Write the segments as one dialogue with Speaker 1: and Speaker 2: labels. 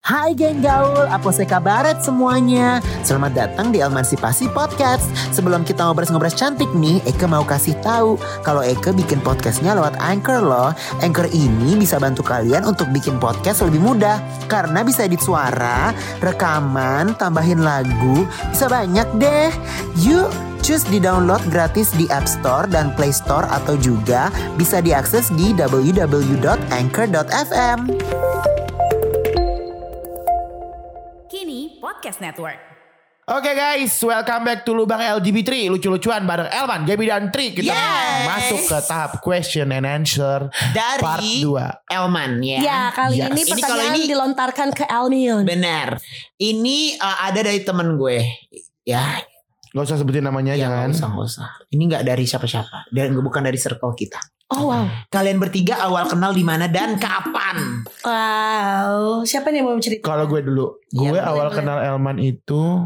Speaker 1: Hai geng gaul, apa kabaret semuanya? Selamat datang di Emansipasi Podcast. Sebelum kita ngobrol-ngobrol cantik nih, Eke mau kasih tahu kalau Eke bikin podcastnya lewat Anchor loh. Anchor ini bisa bantu kalian untuk bikin podcast lebih mudah karena bisa edit suara, rekaman, tambahin lagu, bisa banyak deh. Yuk Cus di-download gratis di App Store dan Play Store atau juga bisa diakses di www.anchor.fm.
Speaker 2: Kini Podcast Network.
Speaker 3: Oke guys, welcome back to Lubang LGB3 Lucu-lucuan bareng Elman, Gaby dan Tri Kita
Speaker 1: Yes.
Speaker 3: masuk ke tahap question and answer
Speaker 1: Dari
Speaker 3: Part 2
Speaker 1: Elman ya.
Speaker 4: Ya kali
Speaker 3: Yes.
Speaker 4: ini
Speaker 1: Ini kalau
Speaker 4: pertanyaan
Speaker 1: ini-
Speaker 4: dilontarkan ke Elmion.
Speaker 1: Benar. Ini uh, ada dari temen gue. Ya,
Speaker 3: Gak usah sebutin namanya
Speaker 1: ya
Speaker 3: jangan
Speaker 1: nggak usah, nggak usah. Ini nggak dari siapa-siapa dan bukan dari circle kita.
Speaker 4: Oh wow.
Speaker 1: Kalian bertiga awal kenal di mana dan kapan?
Speaker 4: Wow. Siapa nih yang mau cerita?
Speaker 3: Kalau gue dulu Gue
Speaker 1: Iya, boleh,
Speaker 3: awal
Speaker 1: boleh.
Speaker 3: kenal Elman itu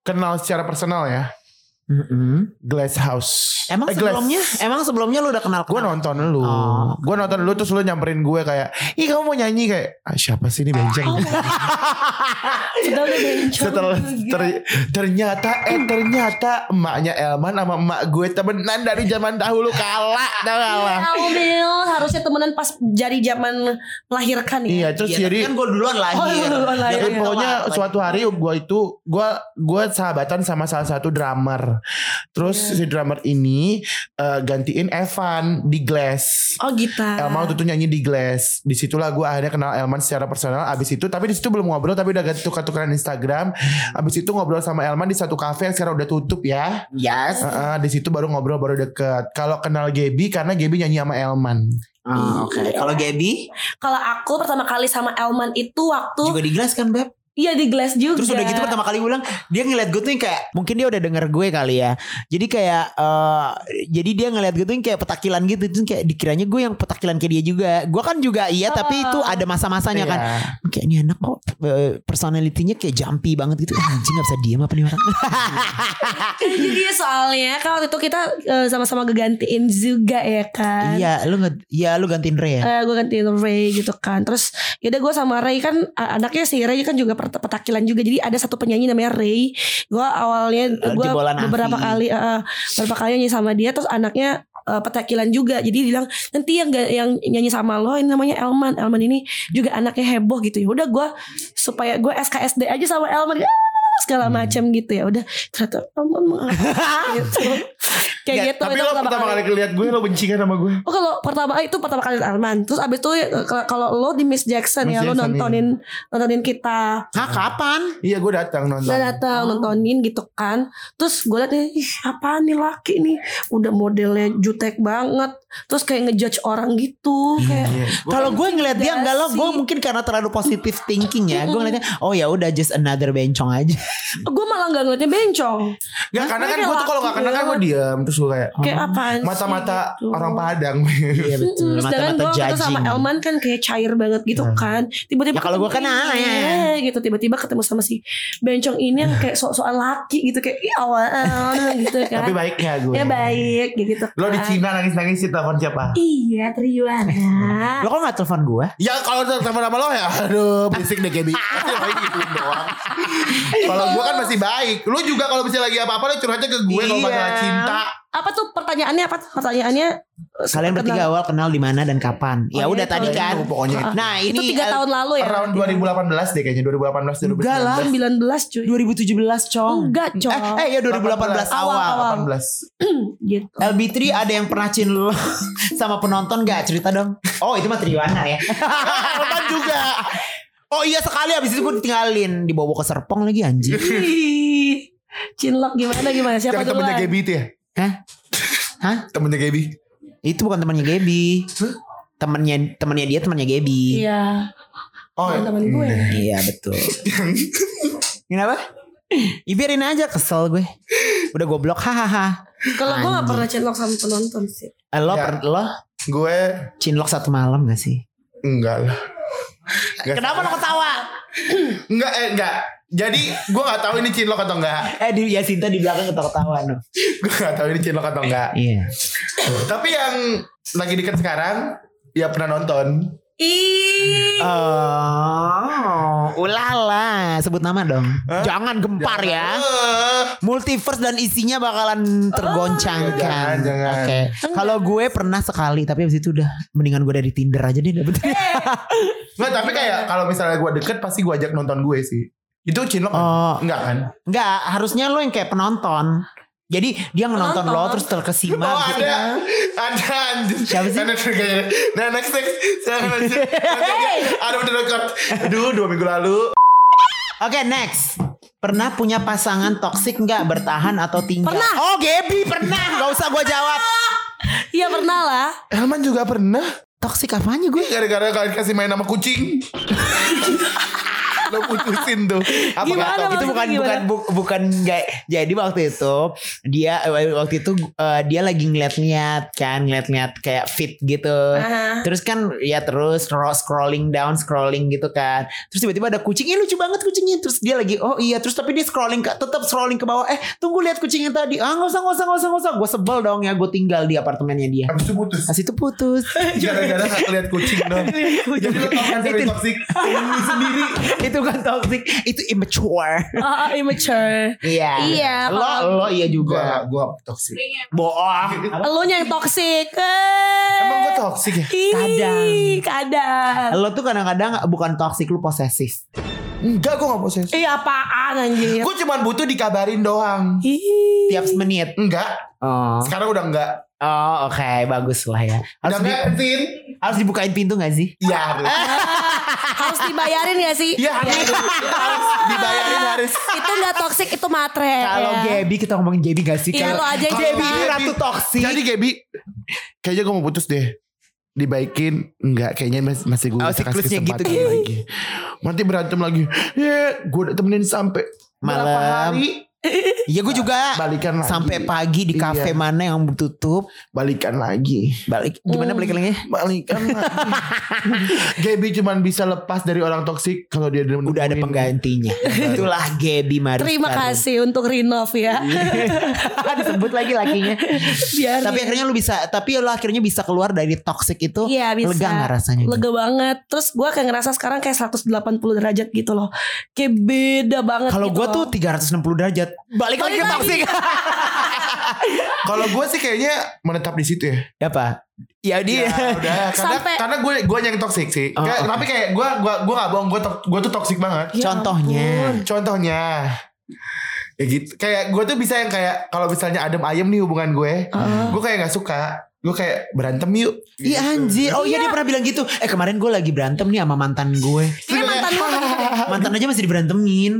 Speaker 3: Kenal secara personal ya
Speaker 1: Mm-mm.
Speaker 3: Glass House
Speaker 1: Emang
Speaker 3: Eh, Glass.
Speaker 1: sebelumnya, emang sebelumnya lu udah kenal?
Speaker 3: Gue
Speaker 1: kenal?
Speaker 3: nonton lu
Speaker 1: Oh.
Speaker 3: Gue nonton lu terus lu nyamperin gue kayak Ih kamu mau nyanyi kayak ah, Siapa sih ini benceng
Speaker 1: Oh,
Speaker 4: Sudah udah bencong.
Speaker 3: Setelah ter- ternyata eh ternyata emaknya Elman sama emak gue temenan dari zaman dahulu kalah dah kalah.
Speaker 1: Iya,
Speaker 4: Tahu Mil, harusnya temenan pas jadi zaman melahirkan ya.
Speaker 3: Iya terus
Speaker 1: Iya,
Speaker 3: jadi
Speaker 1: tapi kan gue duluan lahir. Iya.
Speaker 4: Oh, lu duluan lahir.
Speaker 1: Jadi
Speaker 3: jadi pokoknya
Speaker 1: telat.
Speaker 3: suatu hari gue itu gue gue sahabatan sama salah satu drummer. Terus
Speaker 1: Iya.
Speaker 3: si drummer ini eh, gantiin Evan di Glass.
Speaker 4: Oh gitar.
Speaker 1: ah.
Speaker 3: Elman waktu itu nyanyi di Glass. Disitulah gue akhirnya kenal Elman secara personal. Abis itu, tapi di situ belum ngobrol, tapi udah ganti tukar-tukaran Instagram.
Speaker 1: Hmm.
Speaker 3: Abis itu ngobrol sama Elman di satu kafe yang sekarang udah tutup ya.
Speaker 1: Yes.
Speaker 3: Heeh, di situ baru ngobrol baru deket. Kalau kenal Gaby karena Gaby nyanyi sama Elman.
Speaker 1: Ah, Oke. Kalau Gaby
Speaker 4: Kalau aku pertama kali sama Elman itu waktu
Speaker 1: juga di Glass kan beb.
Speaker 4: iya di Glass juga.
Speaker 1: Terus udah gitu pertama kali ulang dia ngeliat gue tuh yang kayak mungkin dia udah denger gue kali ya. Jadi kayak eh, jadi dia ngeliat gue tuh yang kayak petakilan gitu Terus kayak dikiranya gue yang petakilan kayak dia juga. Gue kan juga iya tapi
Speaker 4: Oh.
Speaker 1: itu ada masa-masanya kan.
Speaker 4: Ya,
Speaker 3: Iya.
Speaker 1: Kayak ini anak kok eh, personalitinya kayak jumpy banget gitu. Ah, Anjing gak bisa diem apa nih orang.
Speaker 4: Iya soalnya kan waktu itu kita eh, sama-sama ngegantiin juga ya kan.
Speaker 1: Iya, lu nggak iya lu gantiin Re ya.
Speaker 4: Eh, gue gantiin Ray gitu kan terus yaudah gue sama Ray kan eh, anaknya si Ray kan juga pert- petakilan juga jadi ada satu penyanyi namanya Ray gue awalnya
Speaker 1: Eh,
Speaker 4: gue
Speaker 1: jebolan
Speaker 4: beberapa
Speaker 1: Afi.
Speaker 4: kali eh, eh, beberapa kali nyanyi sama dia terus anaknya eh, petakilan juga jadi dia bilang nanti yang ga- yang nyanyi sama lo ini namanya Elman Elman ini juga anaknya heboh gitu ya udah gue supaya gue SKSD aja sama Elman Ah, segala
Speaker 3: Hmm.
Speaker 4: macam gitu ya udah ternyata Elman mengapa gitu kayak
Speaker 3: Ya,
Speaker 4: gitu
Speaker 3: tapi
Speaker 4: itu
Speaker 3: lo pertama kali lihat gue lo benci kan sama gue?
Speaker 4: Oh kalau pertama itu pertama kali Arman. Terus abis itu eh, kalau- kalau lo di Miss Jackson
Speaker 3: Miss
Speaker 4: ya lo
Speaker 3: Jackson,
Speaker 4: nontonin nontonin kita.
Speaker 1: Hah kapan?
Speaker 3: Iya gue datang nonton. Oh.
Speaker 4: Dia datang nontonin gitu kan. Terus gue liat nih "Ih, apaan nih laki nih udah modelnya jutek banget. Terus kayak ngejudge orang gitu kayak
Speaker 3: Iya.
Speaker 1: Kalau gue ngeliat dia enggak loh, gue
Speaker 4: Dasi.
Speaker 1: mungkin karena terlalu positive thinking ya. Gue ngeliatnya, oh ya udah just another bencong aja.
Speaker 3: Hmm.
Speaker 4: gue malah nggak ngeliatnya bencong.
Speaker 3: Gak karena kan
Speaker 4: Kayak
Speaker 3: gue tuh kalau gak
Speaker 4: laki
Speaker 3: kenal kan
Speaker 4: ya.
Speaker 3: gue diam terus gue kayak
Speaker 4: Kayak apaan sih
Speaker 3: Oh. mata-mata
Speaker 4: gitu.
Speaker 3: orang Padang.
Speaker 1: Iya betul.
Speaker 4: Terus sedangkan gue
Speaker 1: Mata-mata
Speaker 4: waktu itu sama
Speaker 1: judging.
Speaker 4: Elman kan kayak cair banget gitu kan. Tiba-tiba
Speaker 1: Ya kalau gua
Speaker 4: ketemu
Speaker 1: kenal,
Speaker 4: ini,
Speaker 1: ya. Hmm.
Speaker 4: eh, gitu tiba-tiba ketemu sama si bencong ini yang kayak sok-sokan laki gitu kayak ih awal gitu kan.
Speaker 3: tapi baiknya gue.
Speaker 4: Ya baik gitu.
Speaker 3: Lo di
Speaker 4: kan.
Speaker 3: Cina nangis-nangis sih telepon siapa?
Speaker 4: Iya, Triwana.
Speaker 1: Lo kok gak telepon gue?
Speaker 3: Ya kalau telepon sama lo ya Aduh berisik deh Gaby Lagi gituin Iya, gitu doang.
Speaker 4: Iya.
Speaker 3: Kalau gue kan masih baik Lo juga kalau bisa lagi apa-apa Lo curhatnya ke gue Kalau
Speaker 1: Iya.
Speaker 3: masalah cinta
Speaker 4: apa tuh pertanyaannya apa pertanyaannya eh,
Speaker 1: Kalian
Speaker 4: kenal-
Speaker 1: bertiga oh, awal kenal di mana dan kapan? Ya
Speaker 4: Oh,
Speaker 1: udah
Speaker 4: iya,
Speaker 1: tadi
Speaker 4: kalau
Speaker 1: kan.
Speaker 3: itu pokoknya itu.
Speaker 1: Nah ini
Speaker 4: itu tiga
Speaker 1: L-
Speaker 4: tahun lalu ya
Speaker 3: Around 2018 deh kayaknya 2018
Speaker 1: Iya. Enggak lah.
Speaker 3: 2019
Speaker 4: 2019 cuy
Speaker 1: 2017 cong.
Speaker 4: enggak
Speaker 1: Eh,
Speaker 4: cowok
Speaker 1: eh ya 2018
Speaker 4: Awal,
Speaker 1: awal.
Speaker 4: awal.
Speaker 3: 18
Speaker 4: gitu
Speaker 1: LB3 ada yang pernah cin lo sama penonton gak? Cerita dong. Oh itu mah Triwana ya.
Speaker 3: Elman juga
Speaker 1: Oh iya sekali habis itu gue ditinggalin dibawa ke Serpong lagi anjing.
Speaker 4: Ih, Cinlok gimana gimana
Speaker 3: Yang
Speaker 4: siapa
Speaker 3: Kan temennya
Speaker 4: duluan
Speaker 3: Gaby itu ya
Speaker 1: Hah? Hah?
Speaker 3: Temennya Gaby
Speaker 1: Itu bukan temannya Gaby. Temannya temannya dia temannya Gaby.
Speaker 4: iya
Speaker 3: Oh
Speaker 4: Bukan temen gue.
Speaker 3: hmm.
Speaker 1: Iya betul. Kenapa? Ya, biarin aja kesel gue. Udah goblok hahaha.
Speaker 4: kalau gue gak
Speaker 1: Anjing.
Speaker 4: pernah cinlok sama penonton sih
Speaker 1: Eh, Lo
Speaker 3: Ya.
Speaker 1: per- lo
Speaker 3: Gue
Speaker 1: cinlok satu malam gak sih?
Speaker 3: Enggak lah Enggak
Speaker 1: Kenapa lo ketawa?
Speaker 3: Enggak eh enggak Jadi gue gak tahu ini cinlok atau enggak
Speaker 1: Eh di ya Sinta di belakang ketawa-ketawa no.
Speaker 3: Gue gak tahu ini cinlok atau enggak
Speaker 1: Iya.
Speaker 3: Tapi yang lagi deket sekarang Ya pernah nonton
Speaker 4: Ih.
Speaker 1: Oh, ulala, sebut nama dong. Jangan gempar ya.
Speaker 3: Eh,
Speaker 1: Multiverse dan isinya bakalan tergoncangkan.
Speaker 3: Oh, Jangan, jangan.
Speaker 1: Oke. Kalau gue pernah sekali, tapi abis itu udah mendingan gue dari Tinder aja deh. dapet.
Speaker 3: Nggak, tapi kayak kalau misalnya gue deket pasti gue ajak nonton gue sih. Itu cinlok kan?
Speaker 1: Oh.
Speaker 3: enggak kan?
Speaker 1: Enggak, harusnya lo yang kayak penonton. Jadi dia nonton lo
Speaker 4: Penonton.
Speaker 1: terus terkesima
Speaker 3: Oh
Speaker 1: gitu.
Speaker 3: ada, ada anjir.
Speaker 1: Siapa sih?
Speaker 3: Ada triggernya. Nah next next, silakan lanjut. Ada udah record. Aduh dua minggu lalu.
Speaker 1: Oke next. Pernah punya pasangan toksik nggak bertahan atau tinggal?
Speaker 4: Pernah.
Speaker 1: Oh Gaby pernah. Gak usah gue jawab.
Speaker 4: Iya pernah lah.
Speaker 3: Elman juga pernah.
Speaker 1: Toksik apanya gue?
Speaker 3: Gara-gara kalian kasih main nama kucing. Lo putusin tuh. Apa nggak tahu?
Speaker 4: Gimana, Mas?
Speaker 1: itu
Speaker 4: Maksudnya
Speaker 1: bukan
Speaker 4: gimana?
Speaker 1: bukan bu- bukan nggak- jadi waktu itu dia eh, waktu itu eh, dia lagi ngeliat-ngeliat kan ngeliat-ngeliat kayak fit gitu
Speaker 4: Aha.
Speaker 1: terus kan ya terus scroll- scrolling down scrolling gitu kan terus tiba-tiba ada kucing ih lucu banget kucingnya terus dia lagi oh iya terus tapi dia scrolling ke, tetap scrolling ke bawah eh tunggu lihat kucing yang tadi ah nggak usah nggak usah nggak usah nggak usah gue sebel dong ya gue tinggal di apartemennya dia
Speaker 3: Habis itu putus.
Speaker 1: Pas itu putus
Speaker 3: Gara-gara nggak lihat kucing dong. Jadi lo tau kan cewek
Speaker 1: Itu-
Speaker 3: toksik. Ini sendiri.
Speaker 1: itu kan toxic itu immature
Speaker 4: Oh, immature.
Speaker 1: iya
Speaker 4: Iya,
Speaker 1: lo
Speaker 4: kalau-
Speaker 1: lo iya
Speaker 3: Gue
Speaker 1: juga
Speaker 3: gue toksik.
Speaker 1: bohong
Speaker 4: Elunya yang toksik. Eh.
Speaker 3: Emang gue toksik ya?
Speaker 4: Ih,
Speaker 1: Kadang.
Speaker 4: Kadang.
Speaker 1: Lo tuh kadang-kadang bukan toxic lu posesif.
Speaker 3: Enggak gue gak posesif.
Speaker 4: Iya apaan anjir.
Speaker 3: Gue cuma butuh dikabarin doang.
Speaker 4: Ih.
Speaker 1: Tiap menit.
Speaker 3: Enggak.
Speaker 1: Oh,
Speaker 3: Sekarang udah enggak.
Speaker 1: oh oke, bagus lah ya.
Speaker 3: Udah
Speaker 1: Harus, di-
Speaker 3: enggak Tin?
Speaker 1: harus dibukain pintu gak sih?
Speaker 3: Iya harus.
Speaker 4: Harus dibayarin gak sih?
Speaker 3: Iya harus. Harus dibayarin harus.
Speaker 4: itu gak toksik itu matre. ya.
Speaker 1: Kalau Gaby kita ngomongin Gaby gak sih?
Speaker 4: Eh, Iya,
Speaker 1: Kalau-
Speaker 4: lo aja yang
Speaker 1: Gaby
Speaker 4: cerita.
Speaker 1: ini ratu toksik.
Speaker 3: Jadi Gaby Kayaknya gue mau putus deh Dibaikin Enggak kayaknya mas- masih gue
Speaker 1: Oh,
Speaker 3: kasih
Speaker 1: siklusnya
Speaker 3: kesempatan
Speaker 1: gitu.
Speaker 3: lagi Nanti berantem lagi Ya gue udah temenin sampai berapa
Speaker 1: Malam.
Speaker 3: hari
Speaker 1: Iya gue juga.
Speaker 3: Balikan lagi
Speaker 1: Sampai pagi di kafe
Speaker 3: Iya.
Speaker 1: mana yang tutup.
Speaker 3: Balikan lagi
Speaker 1: Balik. Gimana balik lagi?
Speaker 3: Balikan lagi Gaby cuman bisa lepas dari orang toksik Kalau dia
Speaker 1: Udah ada penggantinya. Itulah Gaby Marus.
Speaker 4: Terima kasih untuk Rinov ya.
Speaker 1: Disebut lagi lakinya.
Speaker 4: Biar
Speaker 1: tapi akhirnya lu bisa. Tapi lu akhirnya bisa keluar dari toxic itu.
Speaker 4: Iya bisa.
Speaker 1: Lega gak rasanya? Gitu?
Speaker 4: Lega banget. Terus gue kayak ngerasa sekarang kayak 180 derajat gitu loh. Kayak beda banget
Speaker 1: Kalau
Speaker 4: gitu
Speaker 1: gue
Speaker 4: loh.
Speaker 1: tuh 360 derajat. Balik, lagi ke
Speaker 4: Balik lagi.
Speaker 1: toxic.
Speaker 3: Kalau gue sih kayaknya Menetap di situ ya
Speaker 1: apa ya dia
Speaker 3: Iya, udah. Karena,
Speaker 4: Sampai-
Speaker 3: karena gue gue yang toksik sih.
Speaker 1: Oh,
Speaker 3: Kayak-
Speaker 1: oke.
Speaker 3: Tapi kayak gue gue gue gak bohong. Gue to- gue tuh toksik banget.
Speaker 4: Ya
Speaker 1: contohnya
Speaker 4: ampun.
Speaker 3: Contohnya ya gitu. Kayak gue tuh bisa yang kayak kalau misalnya adem ayem nih hubungan gue, gue kayak gak suka. Gue kayak berantem yuk.
Speaker 1: Iya anjir Oh iya
Speaker 4: Iya.
Speaker 1: dia pernah bilang gitu Eh kemarin gue lagi berantem nih sama mantan gue
Speaker 4: Ini mantan kan. lo Iya.
Speaker 1: Mantan aja masih diberantemin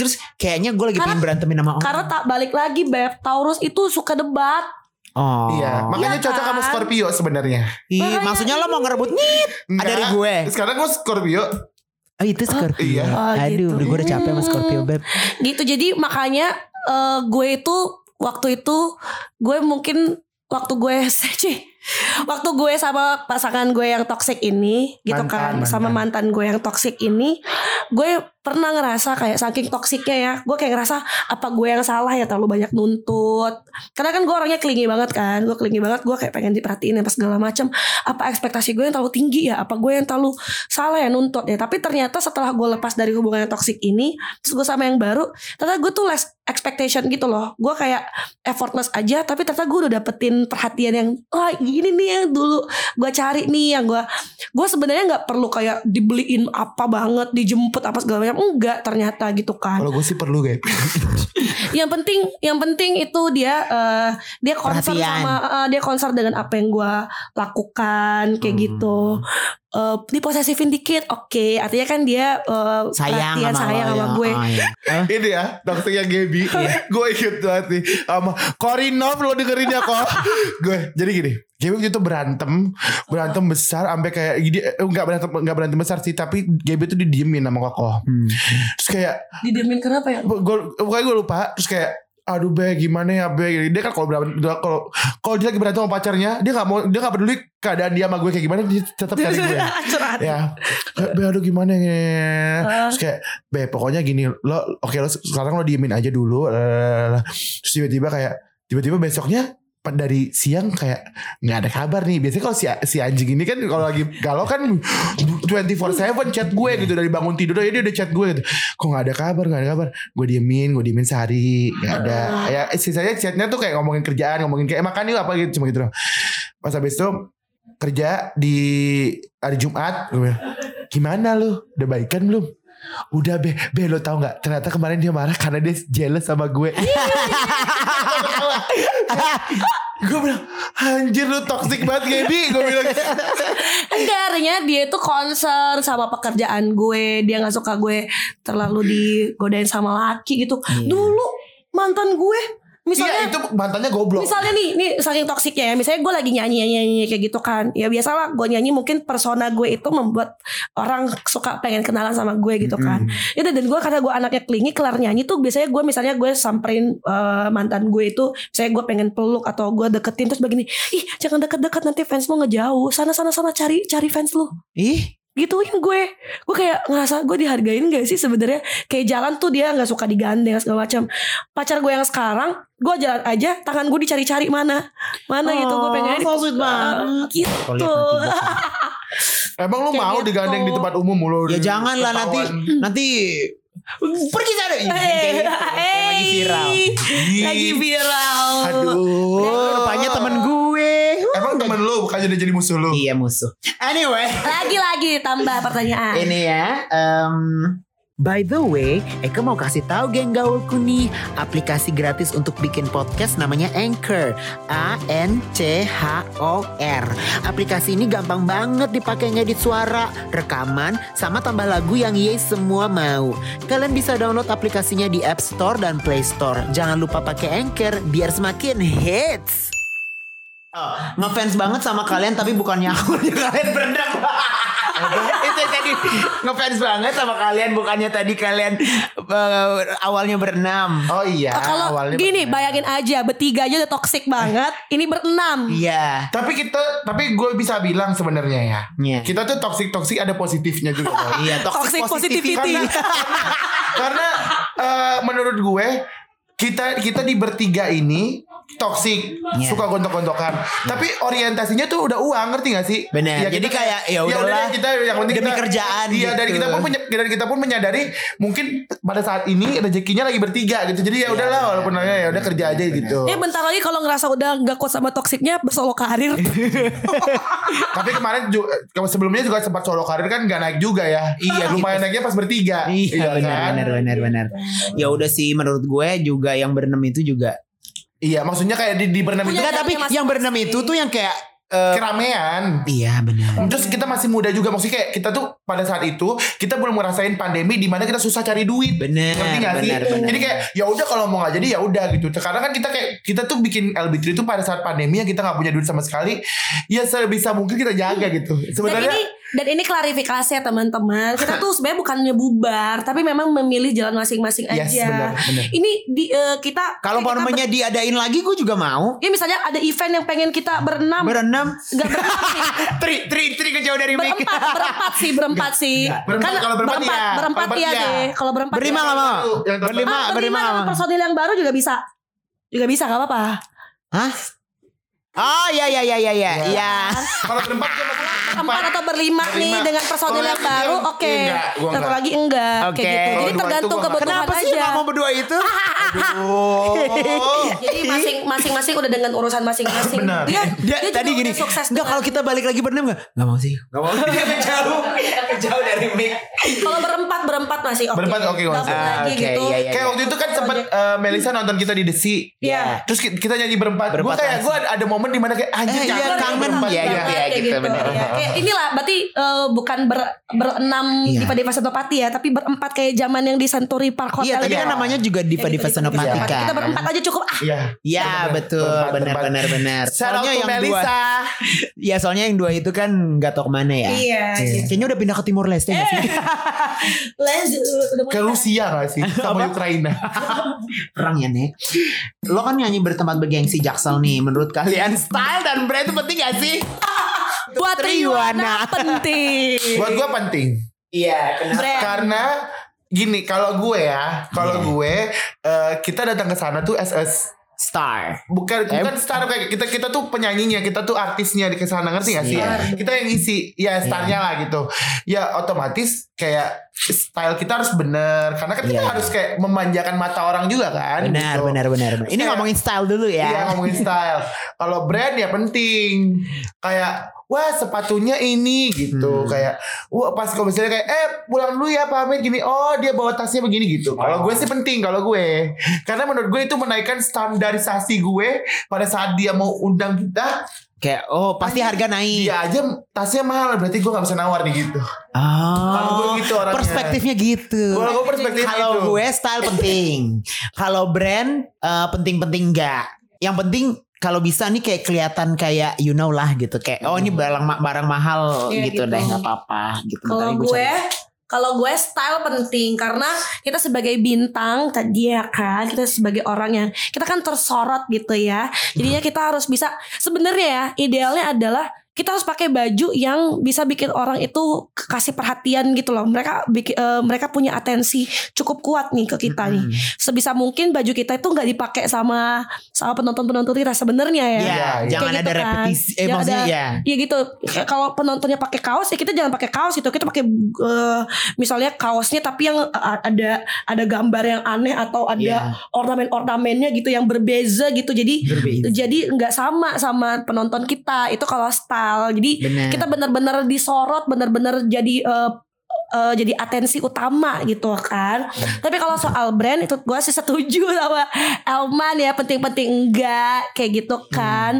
Speaker 1: Terus kayaknya gue lagi pengen
Speaker 4: Karena-
Speaker 1: berantemin sama orang
Speaker 4: Karena
Speaker 3: Oh.
Speaker 4: tak balik lagi Beb Taurus itu suka debat
Speaker 1: Oh
Speaker 3: Iya, makanya
Speaker 4: Iya
Speaker 3: cocok
Speaker 4: kan?
Speaker 3: sama Scorpio sebenarnya.
Speaker 1: Ih,
Speaker 4: Makanya-
Speaker 1: Maksudnya lo mau ngerebut nih
Speaker 3: Enggak.
Speaker 1: dari gue.
Speaker 3: Sekarang gue Scorpio.
Speaker 1: Oh itu Scorpio
Speaker 3: iya.
Speaker 4: Oh,
Speaker 1: Aduh
Speaker 4: gitu.
Speaker 1: udah gue udah capek sama Scorpio beb
Speaker 4: Gitu jadi makanya eh, Gue itu Waktu itu Gue mungkin Waktu gue Cih. Waktu gue sama pasangan gue yang toxic ini Gitu
Speaker 3: Mantan,
Speaker 4: kan
Speaker 3: mantan.
Speaker 4: Sama mantan gue yang toxic ini Gue pernah ngerasa kayak Saking toksiknya ya Gue kayak ngerasa Apa gue yang salah ya Terlalu banyak nuntut Karena kan gue orangnya klingi banget kan Gue klingi banget Gue kayak pengen diperhatiin Apa segala macam Apa ekspektasi gue yang terlalu tinggi ya Apa gue yang terlalu Salah ya nuntut ya Tapi ternyata setelah gue lepas dari hubungan yang toxic ini Terus gue sama yang baru Ternyata gue tuh less expectation gitu loh Gue kayak effortless aja Tapi ternyata gue udah dapetin perhatian yang Wah gini nih yang dulu Gue cari nih yang gue Gue sebenarnya nggak perlu kayak dibeliin apa banget Dijemput apa segala macam Enggak ternyata gitu kan
Speaker 3: Kalau gue sih perlu kayak.
Speaker 4: yang penting yang penting itu dia eh, dia konser
Speaker 1: Perhatian. Hmm.
Speaker 4: sama eh, dia konser dengan apa yang gua lakukan kayak gitu Eh, diposesifin dikit oke artinya kan dia eh,
Speaker 1: Sayang
Speaker 4: perhatian
Speaker 1: sama,
Speaker 4: sayang
Speaker 1: lo,
Speaker 4: sama
Speaker 1: ya.
Speaker 4: gue
Speaker 1: Oh, iya. Eh,
Speaker 3: Ini ya, toksiknya Gaby. gue ikut banget nih. Sama Korinov lo dengerin ya kok. gue jadi gini. Gaby waktu itu berantem, berantem besar sampai kayak gini eh, enggak berantem enggak berantem besar sih, tapi Gaby tuh didiemin sama Kokoh.
Speaker 1: hmm.
Speaker 3: Terus kayak
Speaker 4: didemin kenapa ya
Speaker 3: gue pokoknya gue lupa terus kayak aduh be gimana ya be dia kan kalau berantem dia- kalau kalau dia lagi berantem sama pacarnya dia nggak mau dia nggak peduli keadaan dia sama gue kayak gimana dia tetap cari gue
Speaker 4: curhat
Speaker 3: ya "Eh, be aduh gimana ya terus kayak be pokoknya gini lo oke lo se- sekarang lo diemin aja dulu eh, terus tiba-tiba kayak tiba-tiba besoknya pa- dari siang kayak nggak ada kabar nih. Biasanya kalau si, si anjing ini kan kalau lagi galau kan 24/7 chat gue gitu dari bangun tidur aja dia udah chat gue gitu. Kok nggak ada kabar, nggak ada kabar. Gue diemin, gue diemin sehari, nggak ada. Ya sisanya chatnya tuh kayak ngomongin kerjaan, ngomongin kayak "Eh, makan yuk apa gitu cuma gitu doang. Pas habis itu kerja di hari Jumat gue bilang, gimana lu udah baikan belum udah be be lo tau nggak ternyata kemarin dia marah karena dia jealous sama gue
Speaker 4: Iya.
Speaker 3: gue bilang anjir lu toxic banget Gaby gue bilang "Iya,
Speaker 4: Enggak artinya dia itu concern sama pekerjaan gue Dia gak suka gue terlalu digodain sama laki gitu
Speaker 1: Iya.
Speaker 4: Dulu mantan gue
Speaker 3: iya
Speaker 4: Misalnya
Speaker 3: itu mantannya goblok
Speaker 4: Misalnya nih, nih saking toksiknya ya. Misalnya gue lagi nyanyi, nyanyi, nyanyi kayak gitu kan. Ya biasalah gue nyanyi mungkin persona gue itu membuat orang suka pengen kenalan sama gue gitu kan. Ya udah, dan gue karena gue anaknya klingi kelar nyanyi tuh biasanya gue misalnya gue samperin eh, mantan gue itu, saya gue pengen peluk atau gue deketin terus begini, ih jangan deket-deket nanti fans lo ngejauh. Sana sana sana cari cari fans lo
Speaker 1: Ih,
Speaker 4: gituin Gitu ya gue gue kayak ngerasa gue dihargain gak sih sebenarnya kayak jalan tuh dia nggak suka digandeng segala macam pacar gue yang sekarang gue jalan aja tangan gue dicari-cari mana mana gitu gue pengen
Speaker 1: Oh, so sweet banget.
Speaker 4: gitu
Speaker 1: Kalau lihat nanti gua-
Speaker 3: emang lu
Speaker 4: Kayak
Speaker 3: mau
Speaker 4: gitu.
Speaker 3: digandeng di tempat umum lu
Speaker 1: Ya jangan lah nanti
Speaker 3: ketahuan.
Speaker 1: nanti pergi sana. Kayak
Speaker 4: Eh,
Speaker 1: gitu, yang lagi viral.
Speaker 4: eh, lagi viral
Speaker 1: Oh,
Speaker 3: aduh
Speaker 1: rupanya temen gue.
Speaker 3: emang temen lu bukannya udah jadi musuh lu
Speaker 1: Iya musuh. Anyway,
Speaker 4: lagi lagi tambah pertanyaan
Speaker 1: ini ya. em, By the way, Eka mau kasih tahu geng gaulku nih aplikasi gratis untuk bikin podcast namanya Anchor. A N C H O R. Aplikasi ini gampang banget dipakai ngedit suara, rekaman, sama tambah lagu yang ye semua mau. Kalian bisa download aplikasinya di App Store dan Play Store. Jangan lupa pakai Anchor biar semakin hits. Oh, ngefans banget sama kalian tapi bukan nyakur kalian berenang. itu yang tadi ngefans banget sama kalian bukannya tadi kalian eh, awalnya berenam.
Speaker 3: oh iya
Speaker 4: kalau
Speaker 3: awalnya
Speaker 4: gini
Speaker 3: bener.
Speaker 4: bayangin aja bertiga aja udah toksik banget ini berenam
Speaker 1: Iya.
Speaker 3: Tapi kita, tapi gue bisa bilang sebenarnya ya,
Speaker 1: Iya.
Speaker 3: kita tuh toxic toxic ada positifnya juga. Boy.
Speaker 1: Iya, toxic,
Speaker 4: Toxic positivity.
Speaker 1: positivity.
Speaker 3: Karena eh, menurut gue kita kita di bertiga ini toxic,
Speaker 1: Iya.
Speaker 3: suka gontok-gontokan. Tapi orientasinya tuh udah uang, ngerti gak sih?
Speaker 1: Bener,
Speaker 3: Ya,
Speaker 1: jadi kayak, ya udahlah,
Speaker 3: deh, kita yang penting
Speaker 1: demi
Speaker 3: kita-
Speaker 1: kerjaan
Speaker 3: Iya, dan
Speaker 1: gitu.
Speaker 3: kita pun menya- dan kita pun menyadari mungkin pada saat ini rezekinya lagi bertiga gitu. Jadi
Speaker 1: Iya,
Speaker 3: ya udahlah walaupun ya udah kerja aja gitu.
Speaker 4: Eh bentar lagi kalau ngerasa udah gak kuat sama toksiknya Solo karir
Speaker 3: Tapi kemarin ju- kalau sebelumnya juga sempat solo karir kan gak naik juga ya.
Speaker 1: Iya,
Speaker 3: lumayan naiknya pas bertiga.
Speaker 1: Iya benar
Speaker 3: kan?
Speaker 1: benar benar benar. Ya udah sih menurut gue juga yang berenam itu juga.
Speaker 3: Iya, maksudnya kayak di, di berenam itu kan
Speaker 4: Punya-
Speaker 1: Enggak tapi
Speaker 4: masing-masing.
Speaker 1: yang berenam itu tuh yang kayak eh,
Speaker 3: keramaian.
Speaker 1: iya benar.
Speaker 3: Terus kita masih muda juga maksudnya kayak kita tuh pada saat itu kita belum ngerasain pandemi di mana kita susah cari duit.
Speaker 1: Bener,
Speaker 3: Ngerti nggak sih?
Speaker 1: bener, bener.
Speaker 3: Jadi kayak ya udah kalau mau nggak jadi ya udah gitu. Sekarang kan kita kayak kita tuh bikin LB3 itu pada saat pandemi yang kita nggak punya duit sama sekali. Ya sebisa mungkin kita jaga gitu. Sebenarnya
Speaker 4: Dan ini dan ini klarifikasi ya teman-teman. Kita tuh sebenarnya bukannya bubar, tapi memang memilih jalan masing-masing aja.
Speaker 3: Yes, benar, benar.
Speaker 4: Ini di eh, kita
Speaker 1: Kalau
Speaker 4: kita
Speaker 1: umpamanya
Speaker 4: ber-
Speaker 1: diadain lagi gue juga mau.
Speaker 4: ya misalnya ada event yang pengen kita berenam,
Speaker 1: Berenam.
Speaker 4: nggak berenam sih.
Speaker 1: Tri tri tri kejauh dari mic.
Speaker 4: berempat, berempat sih, berempat sih.
Speaker 3: Berempat,
Speaker 4: Karena
Speaker 3: kalau berempat
Speaker 4: berempat,
Speaker 3: iya.
Speaker 4: berempat
Speaker 3: Berempat
Speaker 4: iya
Speaker 3: iya.
Speaker 4: deh. Kalau berempat
Speaker 1: Berlima
Speaker 4: iya.
Speaker 1: nggak mau?
Speaker 3: Yang
Speaker 1: Berlima,
Speaker 3: total.
Speaker 4: Ah, berlima
Speaker 1: berlima nggak
Speaker 4: sama
Speaker 1: mau.
Speaker 4: personil yang baru juga bisa. Juga bisa gak apa-apa.
Speaker 1: Hah? Oh
Speaker 3: iya,
Speaker 1: ya ya ya ya ya ya.
Speaker 3: kalau berempat dia masih
Speaker 4: Empat atau berlima
Speaker 3: Berlima.
Speaker 4: nih dengan personil
Speaker 3: Kalau
Speaker 4: yang
Speaker 3: lagi
Speaker 4: baru
Speaker 3: dia-
Speaker 4: oke.
Speaker 3: iya, enggak, gua
Speaker 4: Satu
Speaker 3: enggak.
Speaker 4: lagi enggak
Speaker 1: Oke.
Speaker 4: kayak gitu.
Speaker 1: Kalau
Speaker 4: Jadi
Speaker 3: dua itu
Speaker 4: tergantung
Speaker 3: gua enggak.
Speaker 4: kebutuhan
Speaker 1: Kenapa sih
Speaker 4: aja.
Speaker 1: nggak mau berdua itu?
Speaker 3: Oh.
Speaker 4: Jadi masing- masing-masing udah dengan urusan masing-masing.
Speaker 3: Benar.
Speaker 4: Dia,
Speaker 1: Dia,
Speaker 4: dia juga
Speaker 1: tadi
Speaker 4: udah
Speaker 1: gini.
Speaker 4: sukses
Speaker 1: Enggak
Speaker 4: dengan-
Speaker 1: kalau kita balik lagi berenam enggak? Enggak mau sih. Enggak mau. Jauh. Jauh dari mic.
Speaker 4: kalau berempat berempat masih oke.
Speaker 3: Berempat oke, Mas.
Speaker 4: Gabung
Speaker 1: Ah,
Speaker 4: lagi
Speaker 1: oke,
Speaker 4: gitu.
Speaker 1: iya, iya.
Speaker 3: Kayak waktu itu kan sempat eh, Melisa nonton kita di Desi.
Speaker 4: Iya.
Speaker 3: Terus ki- kita nyanyi berempat. Gue
Speaker 1: Berempat
Speaker 3: kayak
Speaker 1: langsung.
Speaker 3: gue ada momen dimana kayak anjir
Speaker 1: Eh, iya,
Speaker 3: kangen
Speaker 1: kangen.
Speaker 3: berempat
Speaker 1: Iya,
Speaker 3: banget.
Speaker 1: iya, iya.
Speaker 4: Kayak
Speaker 1: gitu, benar.
Speaker 4: ya. Kayak inilah berarti eh, bukan ber, berenam
Speaker 1: Iya.
Speaker 4: di Padeva Senopati ya, tapi berempat kayak zaman yang di Santuri Park Hotel.
Speaker 1: Iya, tapi
Speaker 4: gitu. Iya,
Speaker 1: kan namanya juga Diva Diva Senopatika.
Speaker 4: Kita berempat aja cukup ah.
Speaker 3: Iya.
Speaker 1: Ya kan. betul
Speaker 3: Berempat,
Speaker 1: benar
Speaker 3: berempat.
Speaker 1: benar benar.
Speaker 3: Shout out
Speaker 1: Soalnya
Speaker 3: to
Speaker 1: yang dua,
Speaker 3: Melisa.
Speaker 1: ya soalnya yang dua itu kan nggak tahu kemana ya.
Speaker 4: Iya. Eh.
Speaker 1: Kayaknya udah pindah ke Timur Leste nggak sih?
Speaker 4: Les udah
Speaker 3: Ke
Speaker 4: mulai.
Speaker 3: Rusia gak sih? Sama Ukraina.
Speaker 1: Perang ya nih. Lo kan nyanyi bertempat bergengsi Jaksel nih. Menurut kalian style dan brand itu penting gak sih?
Speaker 4: buat
Speaker 1: Triwana.
Speaker 4: Triwana penting.
Speaker 3: Buat gue penting.
Speaker 1: Iya. Kenapa?
Speaker 4: Brand.
Speaker 1: Iya.
Speaker 3: Karena gini kalau gue ya, kalau gue eh, kita datang ke sana tuh as as
Speaker 1: star.
Speaker 3: bukan
Speaker 1: Eh.
Speaker 3: bukan star kayak kita kita tuh penyanyinya kita tuh artisnya di kesana ngerti gak sih
Speaker 1: Star.
Speaker 3: kita yang isi ya
Speaker 1: Iya.
Speaker 3: starnya lah gitu ya otomatis kayak style kita harus bener karena kan kita
Speaker 1: Iya.
Speaker 3: harus kayak memanjakan mata orang juga kan
Speaker 1: Benar,
Speaker 3: gitu.
Speaker 1: benar, benar, benar. Ini
Speaker 3: Kayak-
Speaker 1: ngomongin style dulu ya.
Speaker 3: Iya ngomongin style. Kalau brand ya penting. Kayak wah sepatunya ini gitu.
Speaker 1: Hmm.
Speaker 3: Kayak wah pas kalau misalnya kayak eh pulang dulu ya Pak Hamid gini. Oh dia bawa tasnya begini gitu. Kalau gue sih penting kalau gue. Karena menurut gue itu menaikkan standarisasi gue pada saat dia mau undang kita.
Speaker 1: Kayak oh pasti harga naik.
Speaker 3: Dia aja tasnya mahal berarti gue nggak bisa nawar nih gitu. Kalau gue
Speaker 1: Oh,
Speaker 3: gitu orangnya.
Speaker 1: perspektifnya gitu.
Speaker 3: Kalau gue perspektif gitu.
Speaker 1: Kalau gue style penting. Kalau brand eh, penting-penting enggak. Yang penting kalau bisa nih kayak kelihatan kayak you know lah gitu kayak oh
Speaker 3: Hmm.
Speaker 1: ini barang ma- barang mahal
Speaker 4: Iya,
Speaker 1: gitu,
Speaker 4: gitu.
Speaker 1: deh nggak apa-apa gitu.
Speaker 4: Kalau
Speaker 1: Makanya
Speaker 4: gue
Speaker 1: cari-
Speaker 4: kalau gue style penting karena kita sebagai bintang tadi ya kan kita sebagai orang yang kita kan tersorot gitu ya jadinya
Speaker 1: Hmm.
Speaker 4: kita harus bisa sebenarnya ya idealnya adalah kita harus pakai baju yang bisa bikin orang itu kasih perhatian gitu loh mereka bikin- eh, mereka punya atensi cukup kuat nih ke kita nih
Speaker 1: Mm-mm.
Speaker 4: sebisa mungkin baju kita itu nggak dipakai sama sama penonton penonton kita sebenarnya ya
Speaker 1: Iya,
Speaker 3: Iya,
Speaker 1: jangan
Speaker 4: Kayak
Speaker 1: ada
Speaker 4: gitu kan.
Speaker 1: repetisi. Eh,
Speaker 4: Jangan
Speaker 1: maksudnya
Speaker 4: ada-
Speaker 1: ya.
Speaker 4: Iya gitu. Kayak Kalau penontonnya pakai kaos ya kita jangan pakai kaos gitu. Kita pakai eh, misalnya kaosnya tapi yang eh, ada ada gambar yang aneh atau ada
Speaker 1: Iya.
Speaker 4: ornamen-ornamennya gitu yang berbeza gitu. Jadi
Speaker 1: Berbeda.
Speaker 4: jadi nggak sama sama penonton kita. Itu kalau style. Jadi
Speaker 1: Benar.
Speaker 4: kita benar-benar disorot, benar-benar jadi eh, eh, jadi atensi utama gitu kan. Tapi kalau soal brand itu gue sih setuju sama Elman ya penting-penting enggak kayak
Speaker 1: Hmm.
Speaker 4: gitu kan.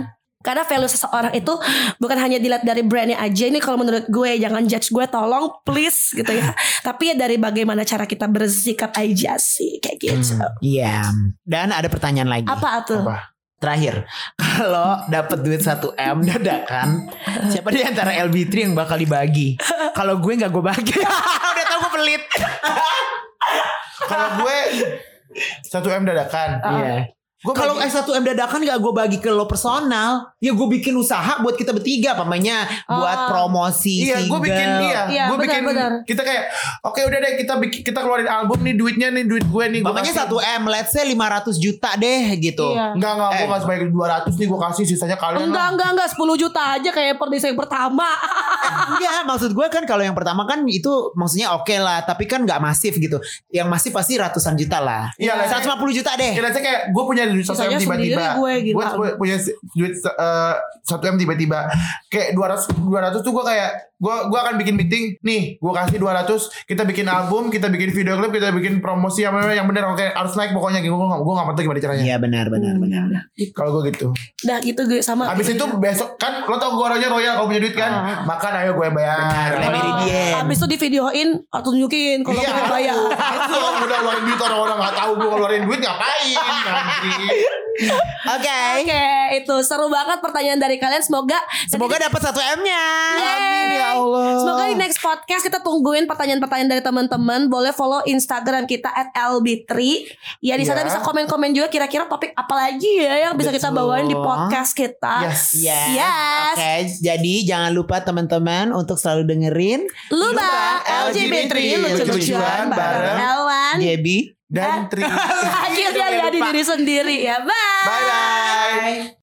Speaker 4: Karena value seseorang itu bukan hanya dilihat dari brandnya aja ini kalau menurut gue jangan judge gue tolong please gitu ya. Tapi ya dari bagaimana cara kita bersikap aja sih kayak gitu.
Speaker 1: Iya. Dan ada pertanyaan lagi.
Speaker 4: Apa tuh?
Speaker 3: Apa?
Speaker 1: Terakhir, kalau dapat duit 1 m dadakan, siapa di antara LB3 yang bakal dibagi? Kalau gue nggak gue bagi. Udah tau gue pelit.
Speaker 3: Kalau gue satu m dadakan.
Speaker 1: Iya.
Speaker 3: Gue
Speaker 1: Kalau eh 1 m dadakan nggak gue bagi ke lo personal, ya gue bikin usaha buat kita bertiga, pamannya buat
Speaker 4: Oh.
Speaker 1: promosi
Speaker 3: Iya, gue
Speaker 1: single.
Speaker 3: bikin iya,
Speaker 4: Iya,
Speaker 3: gue
Speaker 4: benar,
Speaker 3: bikin
Speaker 4: benar.
Speaker 3: kita kayak oke udah deh kita bikin kita keluarin album nih duitnya nih duit gue nih.
Speaker 1: Makanya 1 m, let's say 500 juta deh gitu.
Speaker 4: Iya.
Speaker 3: Enggak enggak gue
Speaker 1: Eh.
Speaker 3: nggak sebanyak 200 nih gue kasih sisanya kalian.
Speaker 4: Enggak, enggak, enggak 10 juta aja kayak per desain pertama.
Speaker 1: Enggak, maksud gue kan kalau yang pertama kan itu maksudnya oke lah, tapi kan nggak masif gitu. Yang masif pasti ratusan juta lah.
Speaker 3: Iya, lah.
Speaker 1: 150 juta deh.
Speaker 3: Kira kayak gue punya duit 1 m
Speaker 4: Sisanya
Speaker 3: tiba-tiba.
Speaker 4: sendiri gue, gila.
Speaker 3: Gue pu- punya si- duit eh, 1 m tiba-tiba kayak 200 200 tuh gue kayak gue gue akan bikin meeting nih gue kasih 200 kita bikin album kita bikin video klip kita bikin promosi yang yang benar oke harus naik pokoknya gue gue nggak penting gimana caranya.
Speaker 1: Iya benar benar benar.
Speaker 3: Kalau gue gitu.
Speaker 4: Dah gitu gue sama.
Speaker 3: Abis itu besok kan lo tau gue orangnya royal kalau punya duit kan makan ayo gue yang bayar.
Speaker 1: Benar, Lady
Speaker 4: Oh,
Speaker 1: Meridian.
Speaker 4: Abis itu di videoin atau tunjukin kalau
Speaker 3: Iya,
Speaker 4: gue bayar.
Speaker 3: Itu orang udah ngeluarin duit orang-orang gak tahu gue ngeluarin duit ngapain anjing.
Speaker 1: Oke.
Speaker 4: Oke, itu seru banget pertanyaan dari kalian. Semoga
Speaker 1: Semoga dapat 1 M-nya.
Speaker 4: Amin ya Allah. Semoga di next podcast kita tungguin pertanyaan-pertanyaan dari teman-teman. Boleh follow Instagram kita @lb3. Ya di sana
Speaker 3: Iya.
Speaker 4: bisa komen-komen juga kira-kira topik apa lagi ya yang bisa kita
Speaker 1: Betul.
Speaker 4: bawain di podcast kita.
Speaker 3: Yes.
Speaker 1: Yes.
Speaker 4: Yes.
Speaker 1: Oke, jadi jangan lupa teman-teman untuk selalu dengerin
Speaker 4: Lubang
Speaker 3: Lubang
Speaker 4: LGBT
Speaker 3: lucu-lucuan
Speaker 4: lucu-lucuan bareng
Speaker 3: bareng Iya.
Speaker 4: Elwan.
Speaker 1: Gaby.
Speaker 3: Dan tri.
Speaker 4: ya Akhirnya jadi diri sendiri ya. Bye.
Speaker 3: Bye bye.